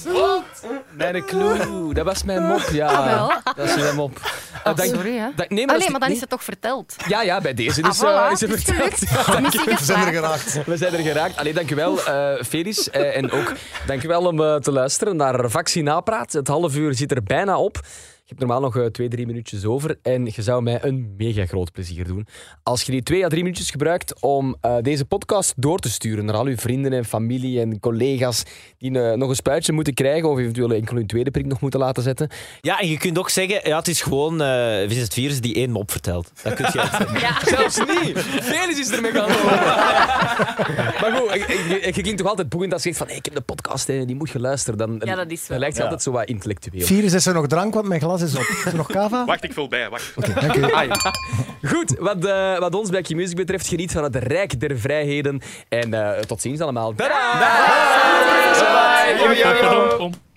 [SPEAKER 1] Mijn clue. Dat was mijn mop, ja.
[SPEAKER 15] Ah, wel.
[SPEAKER 1] Dat is mijn mop. Eh,
[SPEAKER 15] Oh,
[SPEAKER 1] dank-
[SPEAKER 15] sorry, hè.
[SPEAKER 1] dank- nee, maar, dat
[SPEAKER 15] Allee, maar dan
[SPEAKER 1] niet-
[SPEAKER 15] is het toch verteld.
[SPEAKER 1] Ja, ja, bij deze
[SPEAKER 15] Ah,
[SPEAKER 1] is, eh,
[SPEAKER 15] voilà,
[SPEAKER 1] is het
[SPEAKER 15] het is gelukt.
[SPEAKER 1] verteld.
[SPEAKER 15] De muziek is We zijn er klaar.
[SPEAKER 1] geraakt. We zijn er geraakt. Allee, dankjewel, eh Felix. Eh, en ook dankjewel om eh, te luisteren naar Vaccinapraat. Het half uur zit er bijna op. Je hebt normaal nog eh, twee, drie minuutjes over. En je zou mij een mega groot plezier doen. Als je die twee à drie minuutjes gebruikt om eh, deze podcast door te sturen naar al uw vrienden en familie en collega's die eh, nog een spuitje moeten krijgen of eventueel enkel hun tweede prik nog moeten laten zetten.
[SPEAKER 7] Ja, en je kunt ook zeggen, ja, het is gewoon eh Vincent Virus die één mop vertelt. Dat kun je ook zeggen.
[SPEAKER 1] Zelfs niet. Felix is ermee gaan lopen. maar goed, ik- ik- ik- je klinkt toch altijd boeiend als je zegt van hey, ik heb de podcast en die moet je luisteren. Dan,
[SPEAKER 6] Ja, dat is wel.
[SPEAKER 1] dan lijkt je
[SPEAKER 6] Ja.
[SPEAKER 1] altijd zo wat intellectueel.
[SPEAKER 9] Virus is er nog drank, want mijn glas is op. Is er nog kava?
[SPEAKER 14] Wacht, ik vul bij. Wacht.
[SPEAKER 9] dank u.
[SPEAKER 1] Ah, ja. Goed, wat, eh, wat ons bij Q-Music betreft, geniet van het Rijk der Vrijheden. En eh, tot ziens allemaal. Tadaa!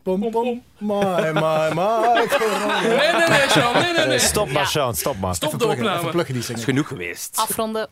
[SPEAKER 9] Pom, pom. Mai, mai, mai.
[SPEAKER 4] Nee, nee, nee, Sean, nee, nee, nee.
[SPEAKER 7] Stop maar, Sean, stop maar.
[SPEAKER 4] Stop de opname.
[SPEAKER 9] Even pluggen die zingen.
[SPEAKER 6] Afronden.